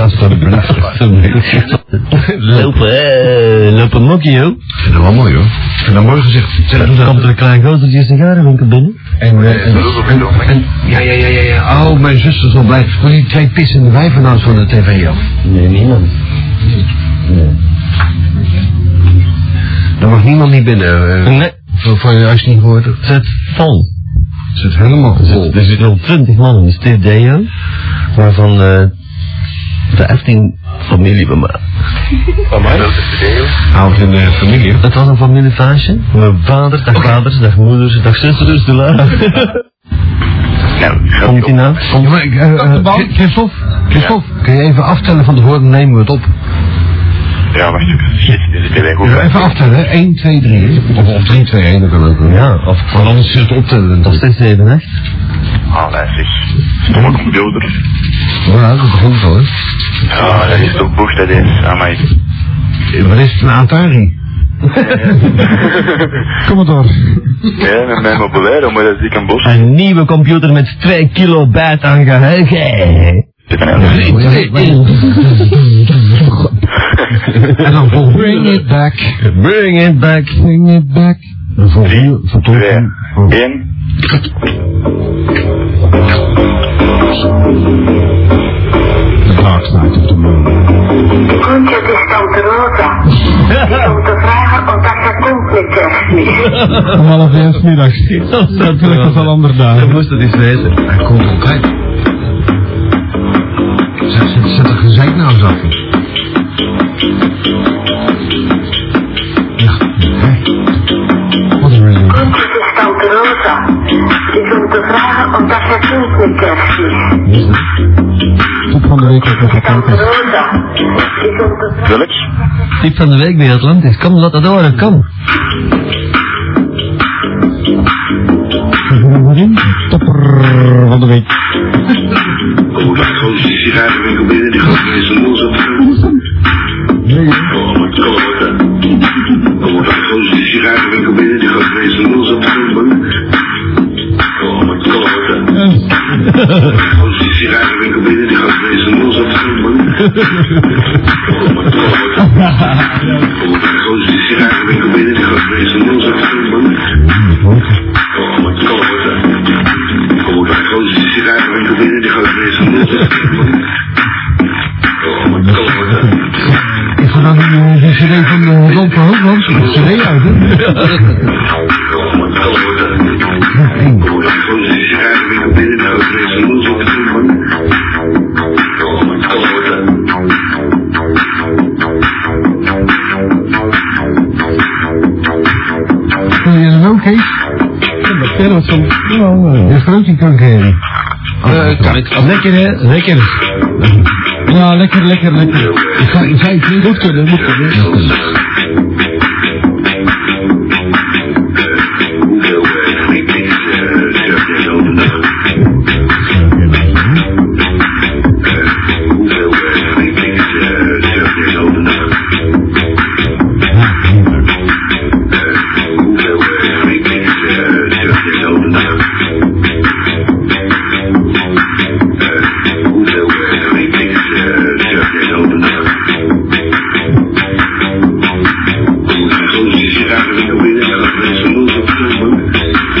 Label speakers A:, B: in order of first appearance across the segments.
A: Alsjeblieft, alsjeblieft.
B: Lopen, eh, lopen mokkie, joh.
A: Ik vind dat wel mooi hoor. Ik vind dat mooi gezegd. Zeg hem
B: Komt er een klein gozer een sigarenwinkel binnen?
A: En, eh, en, en, en- ja, ja, ja, ja, ja. Oh, mijn zus is wel blij. Maar die twee pissende wijven nou van de tv af.
B: Nee, niemand.
A: Daar mag niemand niet binnen. eh.
B: Nee,
A: Van- van je huis niet gehoord hebt.
B: het zit vol.
A: Het zit helemaal
B: Er
A: vol.
B: zit- Er zitten al 20 man in de studio, waarvan eh de 18 familie bij mij.
A: Van mij? Houdt in de familie.
B: Het was een familiefeestje. Mijn vader, dag vaders, dag moeders, dag zusters, de la.
C: Nou,
B: Komt ie nou?
A: Kom, maar, ik, eh, eh, Christophe, Christophe, kun je even aftellen van tevoren, dan nemen we het op.
C: Ja, wacht even. Shit, dit is weer goed.
A: Ja, even aftellen, hè. 1, 2, 3. Of, of 3, 2, 1, dat kan ook. hè.
B: Ja, of
A: Want anders is het optellen.
B: nog steeds even, hè?
C: Ah, nee, zeg. Stomme computer.
A: Ja, dat is goed hoor.
C: Ah, dat is toch boeg, dat is. Ah, Amai.
A: Wat is het, een Atari? Kom maar door.
C: Ja, met mijn mobilair, maar dat is dik een bos.
B: Een nieuwe computer met 2 kilobyte aan geheugen.
C: Dit kan helemaal niet.
A: En dan vol. Bring it back.
B: Bring it back.
A: Bring it back. En vol.
C: Drie,
A: Vol.
C: twee,
A: Vol.
C: één.
A: The Dark Knight of the Moon.
D: Groentje, het is Tante Rosa. Om te vragen of dat gaat komt met kerstmis.
A: Om half één 's middags. Gelukkig is al ander
B: Ik
A: dagen.
B: moest het eens weten.
A: Hij komt altijd. Zet, zet, zet er gezeik nou eens af. Ja, hè? Wat een reden.
D: Groentje, het is Tante Rosa. Het is om te vragen of dat gaat komt met kerstmis.
A: Top van de week heb ik nog
D: Tante
A: gekeken.
D: Rosa. Het is om te
C: Welk?
B: Tip van de week bij Atlantis. Kom, laat dat horen, kom.
A: Zit er nog in? Topper van de week.
C: Oh, dat is die sigarenwinkel binnen, die gaat mij zijn los op. Oh, wat kan Oh, dat is die sigarenwinkel binnen, die gaat mij zijn los op. Oh, wat kan Als die sigarenwinkel binnen, die gaat ineens een los op man. Oh, wat grappig. Oh, als die sigarenwinkel binnen, die gaat ineens een los op man. Oh, wat grappig. Oh, als die sigarenwinkel binnen, die gaat ineens een los op man. Oh, wat grappig.
A: Is er dan een eh, een cd van de Lamp van Hoogland? Een cd uit, hè?
C: Oh, wat grappig. Oh, als die sigarenwinkel binnen, die gaat ineens een los op man. Oh, wat grappig.
A: Wil je dat ook, Kees? Ik heb dat van... Je geven. Eh, kan ik. oh. Lekker, hè? Lekker. Ja, lekker, lekker, lekker. Ik ga, ik ga iets niet goed kunnen, moet kunnen.
C: Hoeveel eh, weekends eh, surf jij zo per dag? Eh, Hoeveel eh, weekends eh, surf jij zo per dag? Eh, Hoeveel eh, weekends eh, surf jij zo per dag? Eh, Hoeveel eh, weekends eh, surf jij zo per dag? Soms is je raar weer binnen en dan is een los op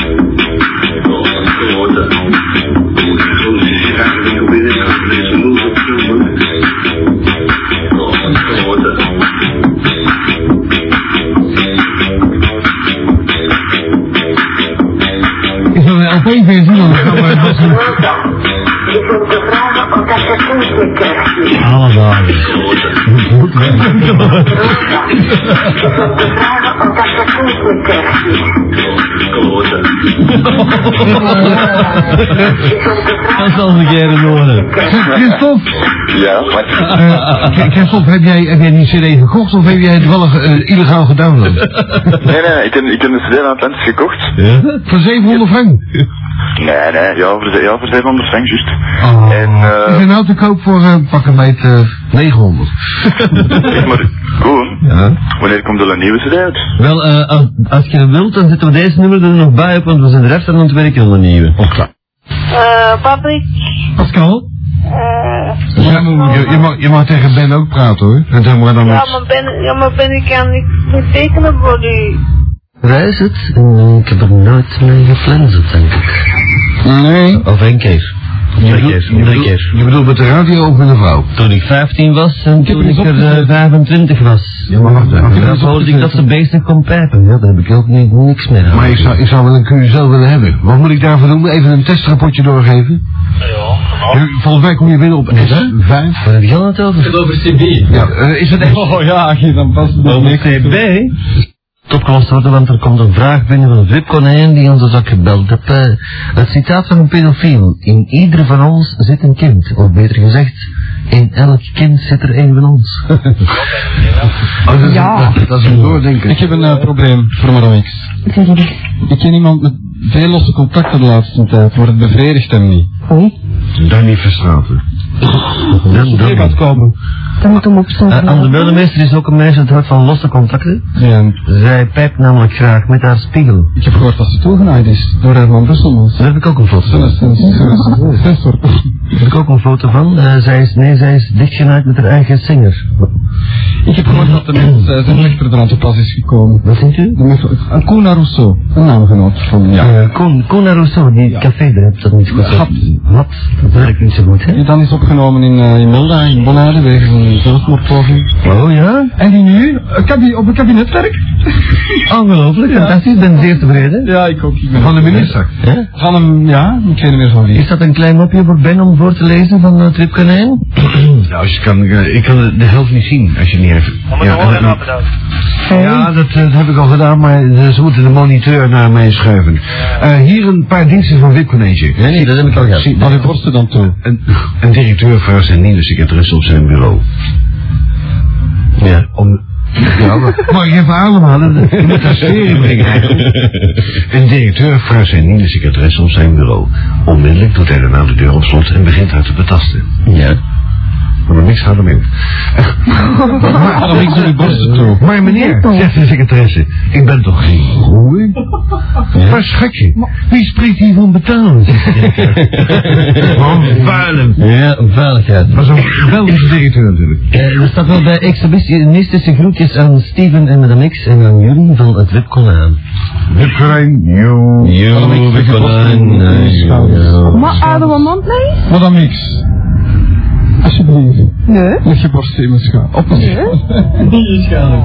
A: Ik zal er opeens weer zien, dan gaan we dat doen.
D: Rosa. Het is om te vragen of dat gaat komt met kerstmis.
B: Alle dagen.
D: Rosa. Het is om te vragen of dat gaat komt met kerstmis. Het is om te
B: Dat
D: vragen
B: zal een keer horen.
A: Christophe,
C: Ja, wat?
A: eh, Christophe, heb jij, heb jij die cd gekocht of heb jij het wel eh, illegaal gedownload?
C: Nee, nee, nee, ik heb, ik heb een CD aan Atlantis gekocht.
B: Ja?
A: Voor 700 frank.
C: Nee, nee, ja, voor, de- ja, voor 700 frank, juist.
A: Oh.
C: En, eh,
A: Is er nou te koop voor eh, pak een meet eh, 900?
C: zeg maar, Koen,
A: Ja.
C: wanneer komt er een nieuwe CD uit?
B: Wel, eh, als, als je wilt, dan zetten we deze nummer er nog
E: Oh,
B: bij op, want we zijn de rest aan het werken aan de nieuwe.
A: Oh, klaar.
F: Eh, Patrick,
A: Pascal?
G: eh
E: Ja, maar je, je, mag, je mag tegen Ben ook praten hoor. En zeg maar dan
G: ja,
E: met...
G: maar ben, ja, maar ben ik kan niet, niet tekenen voor u.
A: Waar is het? Eh, Ik heb er nooit mee geflenst, denk ik.
E: Nee.
A: Of één keer. Of
E: Je
A: twee
E: bedoelt,
A: keer.
E: je,
A: of Drie
E: bedoelt,
A: keer.
E: je bedoelt met de radio of met een vrouw?
A: Toen ik 15 was en
E: heb
A: toen
E: het
A: ik er
E: opgezet.
A: eh, 25 was.
E: Ja, maar wacht even. Ik heb
A: Dan
E: het
A: hoorde ik
E: opgezet.
A: dat ze bezig kon pijpen. Ja, daar heb ik ook ni- niks meer aan.
E: Maar ik zou, ik zou wel een QSL willen hebben. Wat moet ik daarvoor doen? Even een testrapportje doorgeven? Ja, Volgens mij kom je binnen op S5.
A: Waar heb je het over?
H: Over CB.
E: Ja, eh, is dat echt?
H: Oh ja, dan past het
A: Over CB? Opgelost worden, want er komt een vraag binnen van Wip Konijn die ons dus ook gebeld heeft. Eh, het citaat van een pedofiel. In ieder van ons zit een kind. Of beter gezegd, in elk kind zit er één van ons.
E: Oh, dat, is, dat, dat is een doordenker.
H: Ik heb een eh, probleem voor Madame X. Ik ken iemand met veel losse contacten de laatste tijd, maar het bevredigt hem niet.
E: Danny Verstraten.
A: Dan, dan.
H: gaat komen.
A: Eh, Anne de Burgemeester is ook een meisje dat houdt van losse contacten.
H: Ja, en
A: Zij pijpt namelijk graag met haar spiegel.
H: ik heb gehoord dat ze toegenaaid is door haar van Brusselmans.
A: Daar heb ik ook een foto van.
H: Sensor.
A: Daar heb ik ook een foto van. Eh, zij is, nee, zij is dichtgenaaid met haar eigen zinger.
H: Ik heb gehoord dat de mens eh, zijn rechter er aan te pas is gekomen.
A: Wat vindt u?
H: De mens- Een Kuna Rousseau, een naamgenoot van ja.
A: Eh, Koen, Koen en Rousseau, die café daar heb je dat niet goed.
H: Hap.
A: Wat? Dat werkt niet zo goed, hè?
H: Die dan is opgenomen in, eh in Melda, in Bonaire, wegens een zelfmoordpoging.
A: Oh ja?
H: En die nu eh, kabi- op een kabinet werkt?
A: Ongelooflijk, fantastisch. Ik ben zeer tevreden.
H: Ja, ik ook. Ik ben
E: Van de minister.
A: Hè?
H: Van hem, ja, ik weet niet meer van wie.
A: Is dat een klein mopje voor Ben om voor te lezen van eh, het Wipkonijn?
E: Ja, als je kan, eh, ik kan de, de helft niet zien als je het niet hebt. Ja, en- ja dat, eh, dat heb ik al gedaan, maar eh, ze moeten de moniteur naar mij schuiven. Eh, hier een paar diensten van Wipconege.
A: Nee, nee, dat heb ik al gehad.
E: Zie-
H: Wat borst er dan toe?
E: Een, een directeur vraagt zijn nieuwe secretaresse op zijn bureau.
A: Ja.
E: Om, ja, maar, mag ik even ademhalen? Je moet daar sfeer in brengen eigenlijk. Een directeur vraagt zijn nieuwe secretaresse op zijn bureau. Onmiddellijk doet hij daarna de deur op slot en begint haar te betasten.
A: Ja.
E: Maar niks gaat hem in.
H: Adam, ik doe die
A: Eh,
H: borsten toe.
E: Maar meneer, zegt de secretaresse, ik ben toch geen goeie? Maar schatje, wie spreekt hier van betalen? Van vuilen.
A: Ja, om veiligheid.
E: Maar zo'n geweldige directeur natuurlijk.
A: Eh, er staat wel bij extremistische groetjes aan Steven en Madame X en aan Jurgen van het Wipkonijn.
E: Wipkonijn, joe.
A: Yo,
H: Wipkonijn, eh, joh.
G: Maar houden we mond mee?
H: Madame X. Alsjeblieft,
G: Nee.
H: leg je borsten in mijn schouder. Op mijn schouder. In je schouder.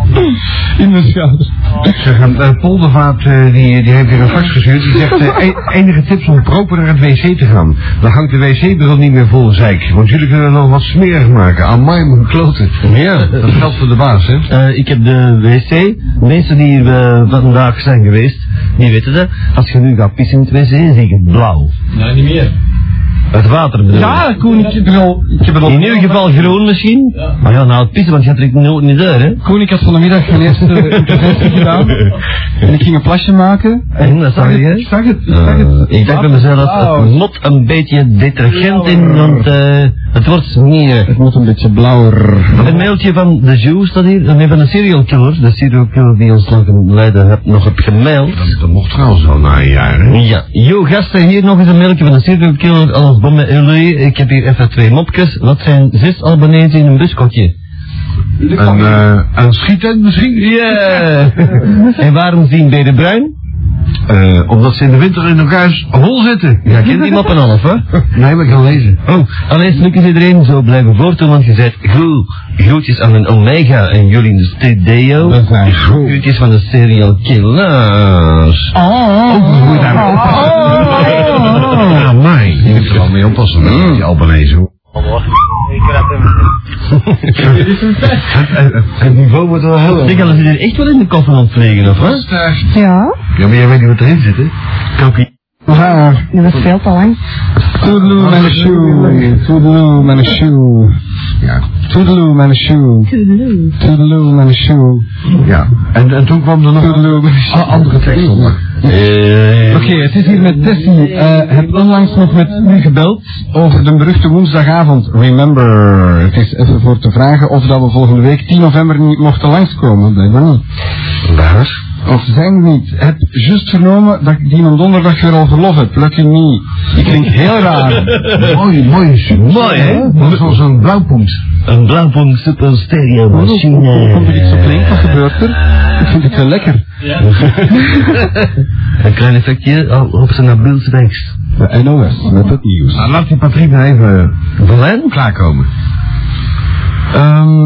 H: In mijn schouder.
E: Zeg, en, eh, Poldervaart eh, die, die heeft weer een fax gestuurd. Die zegt, eh, e- enige tips om proper naar het wc te gaan. Dan hangt de wc-bril niet meer vol, zeik. Want jullie kunnen nog wat smerig maken. Aan mij mijn kloten. Ja. Dat geldt voor de baas, hè.
A: Eh, ik heb de wc. Mensen die eh, vandaag zijn geweest, die weten dat. Als je nu gaat pissen in het wc, zie ik het blauw.
H: Nee, niet meer.
A: Het water bedoel ik.
H: Ja, Koen, ik heb er al... Ik heb er al
A: In uw geval groen misschien. Maar ja, nou het pissen, want je trekt nooit niet uit, hè.
H: Koen, ik had vanmiddag mijn eerste interventie gedaan. En ik ging een plasje maken.
A: En dat zag je, hè.
H: Zag het? Zag het?
A: Eh, ik dacht bij mezelf, het moet een beetje detergent in, want eh, het wordt smerig.
H: Het moet een beetje blauwer.
A: Een mailtje van de Jew staat hier, nee, van een serial killer, de serial killer die ons nog in Leiden heb, nog hebt gemaild.
E: Dat, dat mocht trouwens al na een jaar, hè.
A: Ja, yo gasten, hier nog eens een mailtje van de serial killer Alles Bomme Eloi. Ik heb hier even twee mopjes. Wat zijn zes abonnees in een buskotje?
E: Een, eh een schieten misschien?
A: Yeah! en waarom zien bij de bruin?
E: Eh, omdat ze in de winter in elkaar hol zitten.
A: Ja, kent die mop en half, hè?
E: Nee, maar ik kan lezen.
A: Oh, allereerst lukt iedereen zo blijven voortdoen, want je zegt goed. Groetjes aan een Omega en jullie in de studio.
E: zijn goed.
A: Groetjes van de serial killers.
E: Oh,
A: Oh,
E: Goed aan Ah, mij. Je moet er al mee oppassen, hè, die Albanese. hoor. Het- het- het- Het niveau wordt wel heel
A: Zeg,
E: erg.
A: gaan ze er echt wel in de koffie aan het vliegen, of wat?
G: Ja,
E: Ja, maar jij weet niet wat erin zit, hè?
H: Haar.
G: dat speelt al lang.
H: Toedeloe, mijn shoe. Toedeloe, mijn shoe.
E: Ja.
H: Toedeloe, mijn shoe. Toedeloe, mijn shoe.
E: ja. En, en toen kwam er nog een
H: Toedeloe, mijn shoe.
E: a- andere tekst onder.
A: Eh,
H: Ah, Oké, het is hier met Tessie. Eh heb onlangs nog met u gebeld over de beruchte woensdagavond. Remember. Het is even voor te vragen of dat we volgende week 10 november niet mochten langskomen. Blijkbaar niet.
E: Waar?
H: Of zijn niet. Heb juist vernomen dat ik die een donderdag weer al verlof heb. Lucky me. Ik klink heel raar.
I: Mooi, mooi. Mooi, hè? Dat is zoals een blauwpunt. Een blauwpunt super
E: Oh,
I: stereo
H: Hoe komt er iets op link? Wat
I: machine.
H: gebeurt er? Ik vind het wel lekker.
I: Een klein effectje al op zijn Abielse tekst.
H: De NOS met het nieuws.
A: Nou, laat die Patrick nou even
E: eh,
I: Verlijn?
A: klaarkomen.
H: Ehm,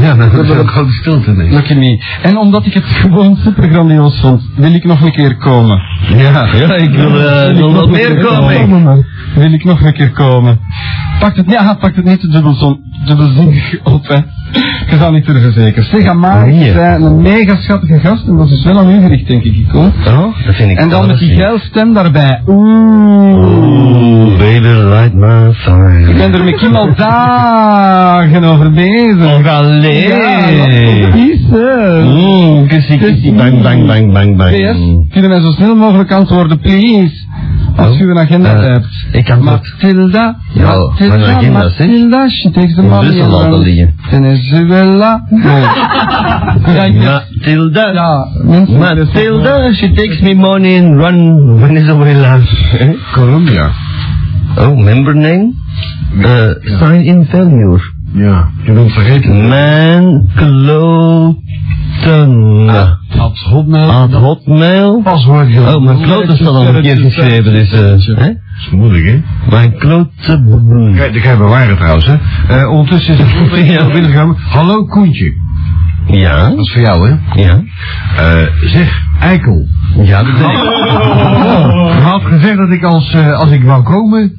I: Ja, dat is ook grote stilte, denk ik.
H: lucky me. En omdat ik het gewoon super grandioos vond, wil ik nog een keer komen.
I: Ja, ja, ik wil eh, wil wel meer komen.
H: Wil ik nog een keer komen? Pakt het, ja, pakt het niet te dubbelzon, dubbelzinnig op, hè. Je zou niet durven zeker. Zeg,
A: Oh,
H: eh. Amari
I: Nee.
H: is een mega schattige gast en dat is wel aan u gericht, denk ik, ik hoor.
I: Oh, dat vind ik
H: En dan met die
I: fantastisch.
H: geil stem daarbij. Oeh.
I: Oeh, baby, light my fire.
H: Ik ben er met Kim al dagen over bezig.
I: Allee.
H: Ja, dat is het.
I: Oeh, kussie, kussie, bang, bang, bang, bang, bang. Mm.
H: PS, kunnen wij zo snel mogelijk antwoorden, please? Als
I: Oh.
H: u een agenda
I: Eh,
H: hebt.
I: Ik kan dat.
H: Matilda,
I: Ja, mijn
H: Matilda,
I: agenda, zeg.
H: Matilda, she takes the
I: In
H: money
I: Brussel
H: and
I: laten
H: runs.
I: liggen.
H: Venezuela. Nee. ja, ik-
I: Matilda.
H: ja, mensen.
I: Matilda, she takes me money and run Venezuela.
A: Colombia.
I: eh? Oh, member name? Uh, sign in failure.
A: Ja, je bent vergeten.
I: Man Kloten.
A: Ad Hotmail.
I: Aan hotmail.
A: Paswoord. ja.
I: Oh, mijn kloot is wel al een keer geschreven, dus... eh, hè?
A: Dat is moeilijk, hè?
I: Mijn klote...
A: Kijk, dat ga je bewaren trouwens, hè? Eh, ondertussen is het goed dat je binnengekomen. Hallo Koentje.
I: Ja?
A: Dat is voor jou, hè?
I: Ja?
A: Eh, zeg, Eikel. Oh.
I: Ja, dat ben ik.
A: Je had gezegd dat ik als, eh, als ik wou komen,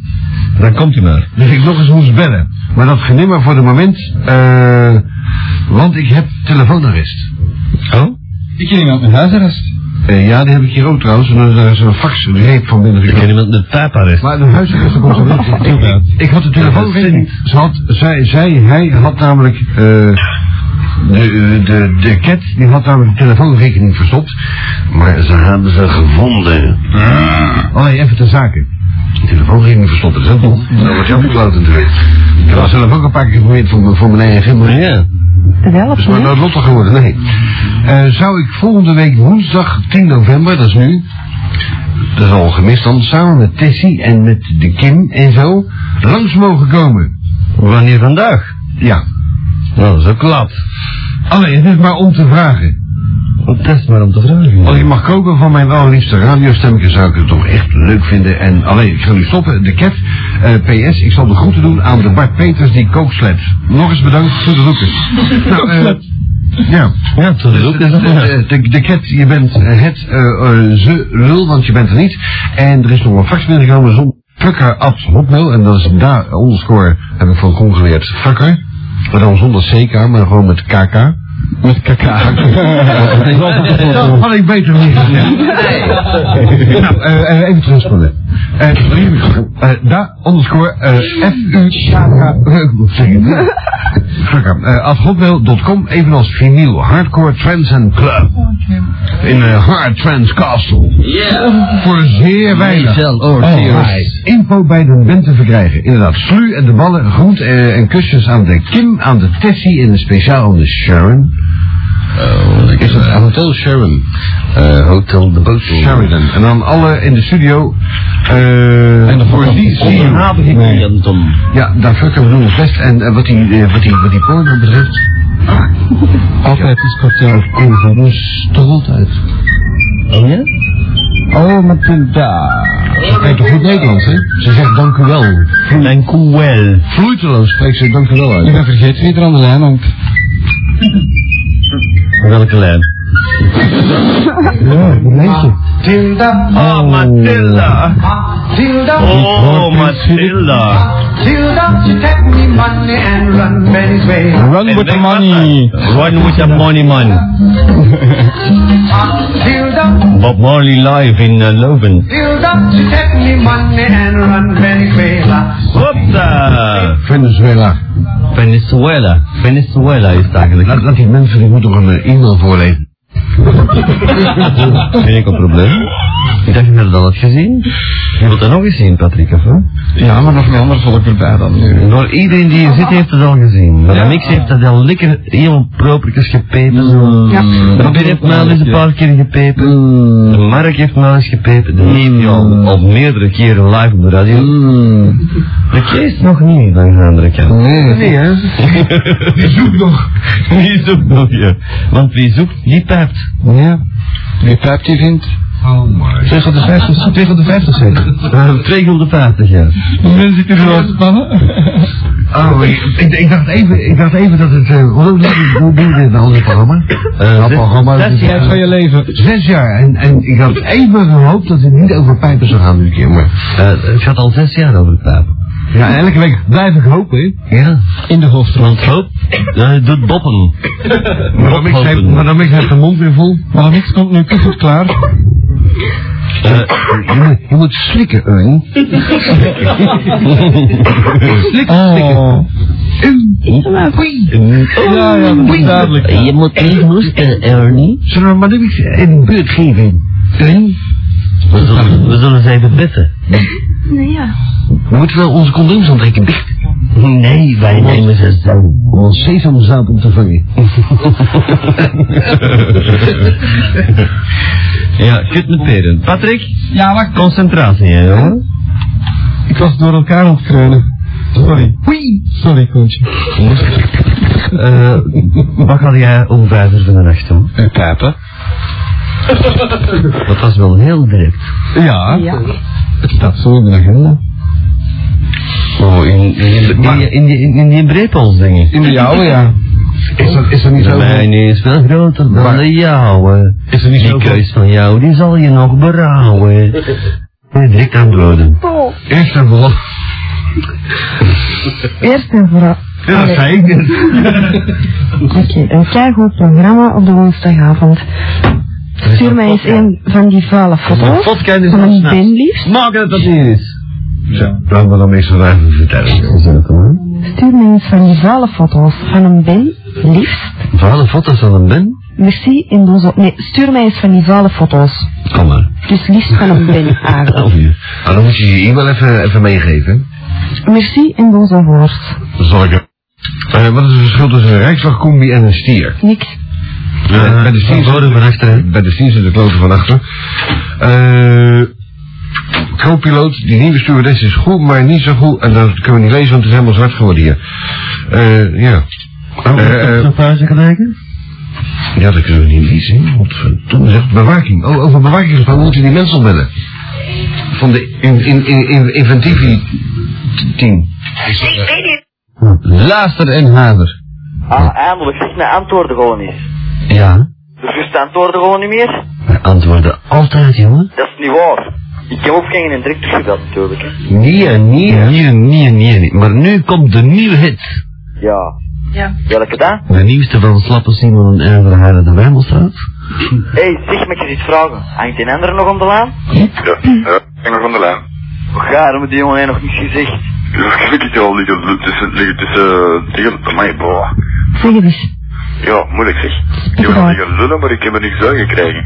I: Dan komt u maar.
A: dat ik nog eens moest bellen. Maar dat genimmer voor de moment, eh, want ik heb telefoonarrest.
I: Oh?
H: Ik ken iemand met huisarrest.
A: Eh, ja, die heb ik hier ook trouwens, en daar is een eh, fax, een reep van
I: Ik ken
A: binnengekomen.
I: iemand met pijparrest.
A: Maar de huisarrest komt er niet. Ik, ik- ik had de telefoonrekening. Ze had, zij, zij, hij had namelijk, eh, de, eh, de, de cat, die had namelijk de telefoonrekening verstopt. Maar ze hebben ze gevonden.
I: Ah.
A: Oh nee, even ter zake. De telefoonrekening verstopt, dat is heel dom. Dat wordt heel verkloot natuurlijk. Ik was zelf ook een paar keer geprobeerd voor, voor mijn eigen gym. maar
I: Ja.
J: Wel of
A: is maar
J: niet?
A: nooit lottig geworden, nee. Eh, zou ik volgende week woensdag 10 november, dat is nu, dat is al gemist dan, samen met Tessie en met de Kim en zo, langs mogen komen?
I: Wanneer vandaag?
A: Ja.
I: Nou, dat is ook laat.
A: Alleen, het is maar om te vragen.
I: Dat is maar om te vragen.
A: Als ik Oh, mag kopen van mijn allerliefste radiostemmetje zou ik het toch echt leuk vinden. En alleen, ik ga nu stoppen. De cat, eh, PS, ik zal de groeten doen aan de Bart Peters die kooksled. Nog eens bedankt, tot de roeken. Nou, eh, ja.
I: Ja, tot
A: Dus
I: ook.
A: de, de, de, de cat, je bent het, eh eh, ze lul, want je bent er niet. En er is nog een fax binnengekomen zonder fucker at hotmail. En dat is daar underscore, heb ik van Kong geleerd, fucker. Maar dan zonder CK, maar gewoon met KK.
H: Met kaka.
A: Dat had ik beter niet gezegd. Nou, eh, eh, even terugspoelen. Eh, eh, da underscore eh, F-U-K-K. eh, hoe zeg je het? Fucker. Eh, at hotmail.com, evenals vinyl, hardcore, trends en club. In eh, Hard Trans Castle. Voor zeer weinig.
I: Metal or tears.
A: Alright. Info bij de band te verkrijgen. Inderdaad, slu en de ballen, groent eh, en kusjes aan de Kim, aan de Tessie en speciaal aan de Sharon. is het Hotel Sharon?
I: Eh, Hotel de Boot.
A: Sheridan. En dan alle in de studio. en de voor die zie je-
I: Onderhavige cliënten.
A: Ja, daar fucken we doen het best. En eh, wat, die, eh, wat, die, wat die porno betreft.
H: Altijd is kartel
A: dus
H: overstoldheid.
I: Oh ja?
H: Oh, Matilda.
A: Dat weet toch goed Nederlands, hè? Ze zegt dank u wel.
I: Dank u wel.
A: Vloeiteloos spreekt ze dank u wel
H: Ik
A: uit.
H: ben vergeten wie er aan de lijn hangt.
I: Welke lijn?
A: Ja, een meisje. Tilda.
I: Oh, Matilda.
A: Tilda.
I: Oh, Matilda.
A: Tilda. She take me money and run Venezuela.
H: Run with the money.
I: Run with the money man.
A: Tilda.
I: Bob Marley live in uh, Loven.
A: Tilda. She take me money and run Venezuela.
H: uh?
I: Hopsa.
A: Venezuela.
I: Venezuela. Venezuela is het eigenlijk.
A: Laat, laat die mensen, die moeten toch een eh, e-mail voorlezen.
I: Vind ik een probleem. Ik dacht, je had dat al gezien.
A: Je wilt dat nog eens zien, Patrick, of wat?
H: Ja, maar nog meer ander volk erbij dan nu.
A: Door iedereen die hier zit heeft het al gezien. Maar
H: Ja.
A: Mix heeft dat al lekker helemaal propertjes gepeperd. zo.
G: Ja.
A: Robin heeft mij al eens een paar keer gepeperd.
E: Mm.
A: De
H: Mm.
A: Mark heeft mij al eens gepeperd. De Neef al, al meerdere keren live op de radio. De Kees nog niet, langs de andere kant.
H: Nee.
A: hè?
E: Die zoekt nog.
A: Wie zoekt nog, ja. Want wie zoekt, die pijpt.
H: Ja. Wie pijp die vindt?
E: Oh my.
A: 250, 250 zeker? 250, ja.
H: Men zit hier zo spannen.
A: Oh, ik, ik, ik dacht even, ik dacht even dat het... eh, hoe lang hoe duurde het al Eh, dit nou, programma?
H: Nou,
A: dat programma...
H: De tijd van je leven.
A: Zes jaar, en, en ik had even gehoopt dat het niet over pijpen zou gaan nu keer, maar... het gaat Eh, al zes jaar over pijpen. Ja, elke week blijf ik hopen, hè? Ja.
H: In de hoofdrol.
A: Want hoop, eh, doet boppen.
E: Madame X heeft- Madame X heeft de mond weer vol.
H: Maar niks komt nu kuffert klaar.
A: Eh, je, moet, je moet slikken, Erwin.
G: Oh.
A: Slikken,
H: Oh. Ja, ja, dat is duidelijk.
A: Je moet niet hoesten, Ernie. Zullen we maar niks in de buurt geven? We zullen, we zullen ze even betten.
G: Nee, ja.
A: We moeten wel onze condooms aantrekken, dicht. Nee, wij nemen ze zo. Om ons sesamzaad op te vangen. ja, kut met peren. Patrick? Ja, wacht. Concentratie, hè, jongen.
H: Ik was door elkaar aan het kreunen. Sorry. Sorry, Koentje.
A: Eh, wat had jij om vijf uur van de nacht doen?
H: En pijpen?
A: Dat was wel heel direct.
H: Ja.
G: Ja.
H: Het staat zo in de agenda.
A: Oh, in, in, in, in, in, in die brepels dingen.
H: In de jouwe, ja.
E: Is dat, is dat niet zo?
A: Mijn is wel groter dan de jouwe.
E: Is er niet
A: Die
E: zo?
A: keus van jou, die zal je nog berouwen. Eh, Direct aan broden.
G: Oh.
E: Eerst en vooral.
G: Eerst en vooral.
E: Ja, dat zei ik net.
G: Oké, een keigoed programma op de woensdagavond. Stuur mij eens een van die vuile foto's.
A: Wat kan je
G: Van een
A: snappen?
G: bin liefst.
A: Maak dat dat niet is.
E: Ja, dat wil dan meestal even vertellen.
G: Stuur mij eens van die vuile foto's. Van een bin liefst.
A: Vuile foto's van een ben?
G: Merci in onze... Nee, stuur mij eens van die vuile foto's.
A: Kom maar.
G: Dus liefst van een bin aardig.
A: Of je.
E: Ah, dan moet je je e-mail even, even meegeven.
G: Merci in onze woord.
E: Dat zal ik. Eh, wat is het verschil tussen een rijkswachtcombi en een stier?
G: Niks.
E: Eh, bij de stier
A: van voren, van achteren.
E: Bij de stier zit de kloten van achter. Eh co-piloot, die nieuwe stewardess is goed, maar niet zo goed. En dat kunnen we niet lezen, want het is helemaal zwart geworden hier. Eh ja.
A: Oh,
E: Eh, eh,
A: Zo'n pauze gelijken?
E: ja, dat kunnen we niet lezen. Wat verdomme zegt bewaking. Oh, over bewaking gesproken, we moeten die mensen bellen. Van de in, in, in, in, inventivi team.
D: Ik weet het.
E: Luister en hader.
K: Ah, eindelijk. Zeg mij antwoorden gewoon eens.
A: Ja.
K: Dus je antwoorden gewoon niet meer?
A: Wij antwoorden altijd, jongen.
K: Dat is niet waar. Ik heb ook geen direct teruggebeld natuurlijk. hè.
A: Nee, nee, nee, nee, nee, nee. Maar nu komt de nieuwe hit.
K: Ja.
G: Ja.
K: Welke dan?
A: De nieuwste van Slappe Simon en Erver Heide de Wijmelstraat.
K: Hé, hey, zeg maar, ik je iets vragen. Hangt een ander nog om de laan?
C: Ja, ja, Engel van der Laan.
K: Gaar, maar die jongen heeft nog niets gezegd.
C: Ja, ik weet het al, liggen tussen, liggen tussen, liggen, amai, boah.
G: Zeg het eens.
C: Ja, moeilijk zeg. Ik heb wel liggen lullen, maar ik heb er niks uitgekregen.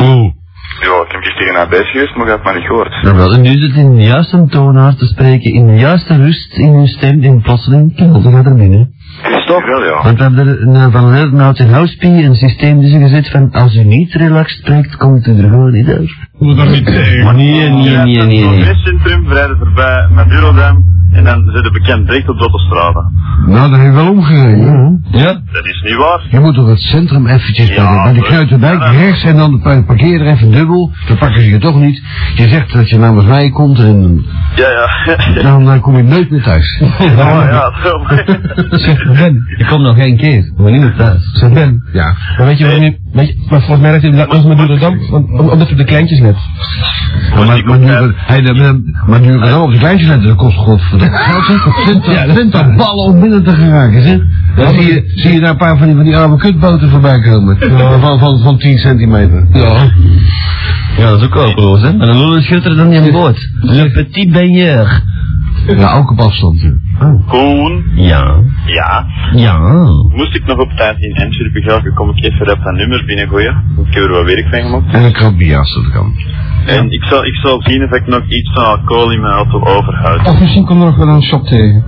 A: Oeh.
C: Ja, ik heb je tegen haar bijs geweest, maar je hebt mij niet gehoord.
A: Nou wel, en nu zit in de juiste toonaard te spreken, in de juiste rust in uw stem, en plotseling knalt gaat er binnen.
K: Christophe?
C: Wel ja.
A: Want we hebben er een, van Lernout en Houspie een systeem tussen gezet van als u niet relaxed spreekt, komt u er gewoon niet uit.
E: Moet dat niet zeggen.
A: Maar nee, nee, nee, nee, nee.
B: Congrescentrum, vrijdag voorbij, met Bureaudem. En dan zitten bekend direct op de autostrade.
E: Nou, dat heeft wel omgereden.
A: Ja.
E: Ja?
B: Dat is niet waar.
E: Je moet door het centrum eventjes bij de, bij de Kruidenwijk rechts en dan pa- parkeer er even dubbel. Dan pakken ze je toch niet. Je zegt dat je namens mij komt en
B: Ja, ja.
E: dan eh, kom je nooit meer thuis.
B: ja, ja. zo.
A: Zeg Ben, je komt nog geen keer, maar niet meer thuis. Zeg Ben,
E: Ja.
A: maar weet je wat nu, weet je, maar volgens mij dat inderdaad nog met Rotterdam, omdat we de kleintjes net.
E: Maar, maar, maar, nu, hey, dan- dan- maar nu we dan op de kleintjes letten, dat kost godverdomme geld. hè. Dat vindt dat- vindt dat ballen om binnen te geraken, zeg. Dan zie je, zie je daar een paar van die, van die arme kutboten voorbij komen. Van, van, van 10 centimeter.
A: Ja. Ja, dat is ook hopeloos, hè. En een lullen schutter dan in een boot. Le petit baigneur.
E: Ja, ook op afstand. ja.
B: Koen.
A: Ja.
B: Ja.
A: Ja.
B: Moest ik nog op tijd in Antwerpen geraken, kom ik even op dat nummer binnengooien. Ik heb er wat werk van gemaakt.
E: En ik had bier als dat kan.
B: En ik zal, ik zal zien of ik nog iets van alcohol in mijn auto overhoud.
H: Of misschien komt er nog wel een shop tegen.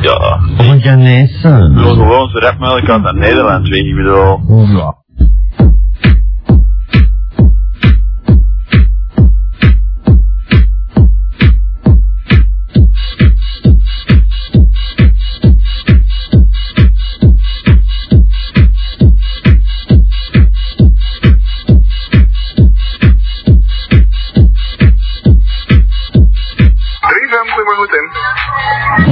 B: Ja.
A: Of een Ghanese.
B: Ik wil gewoon zo rap mogelijk uit naar Nederland, weet je, ik bedoel.
A: Ja.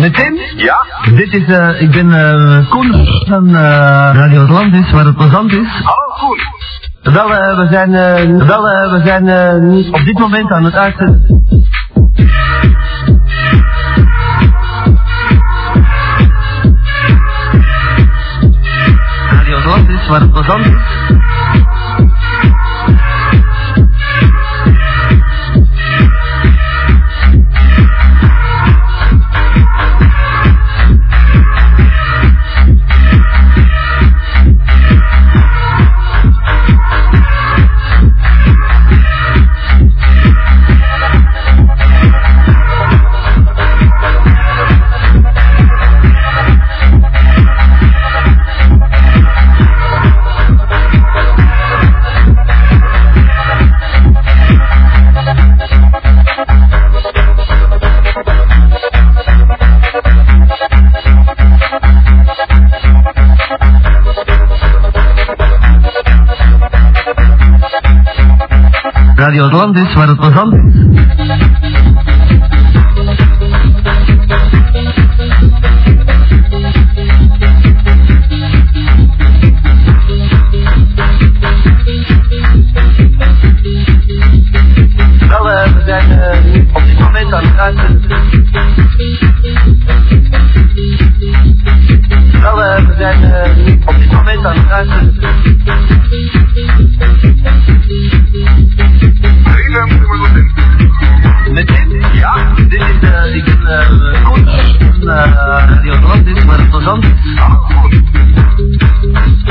A: Met Tim?
B: Ja?
A: Dit is, eh, ik ben eh Koen van eh Radio Atlantis, waar het plezant is.
B: Hallo Koen.
A: Wel, eh, we zijn, eh, wel, eh, we zijn eh, op dit moment aan het uitzenden. Radio Atlantis, waar het plezant is. Radio Atlantis, waar het plezant is. Wel, eh, we zijn eh, op dit moment aan het uitzenden. Wel, eh, we zijn eh, op dit moment aan het uitzenden. Met dit? Ja. Dit is, eh, ik ben eh, Koen van eh, Radio Atlantis, maar het was anders.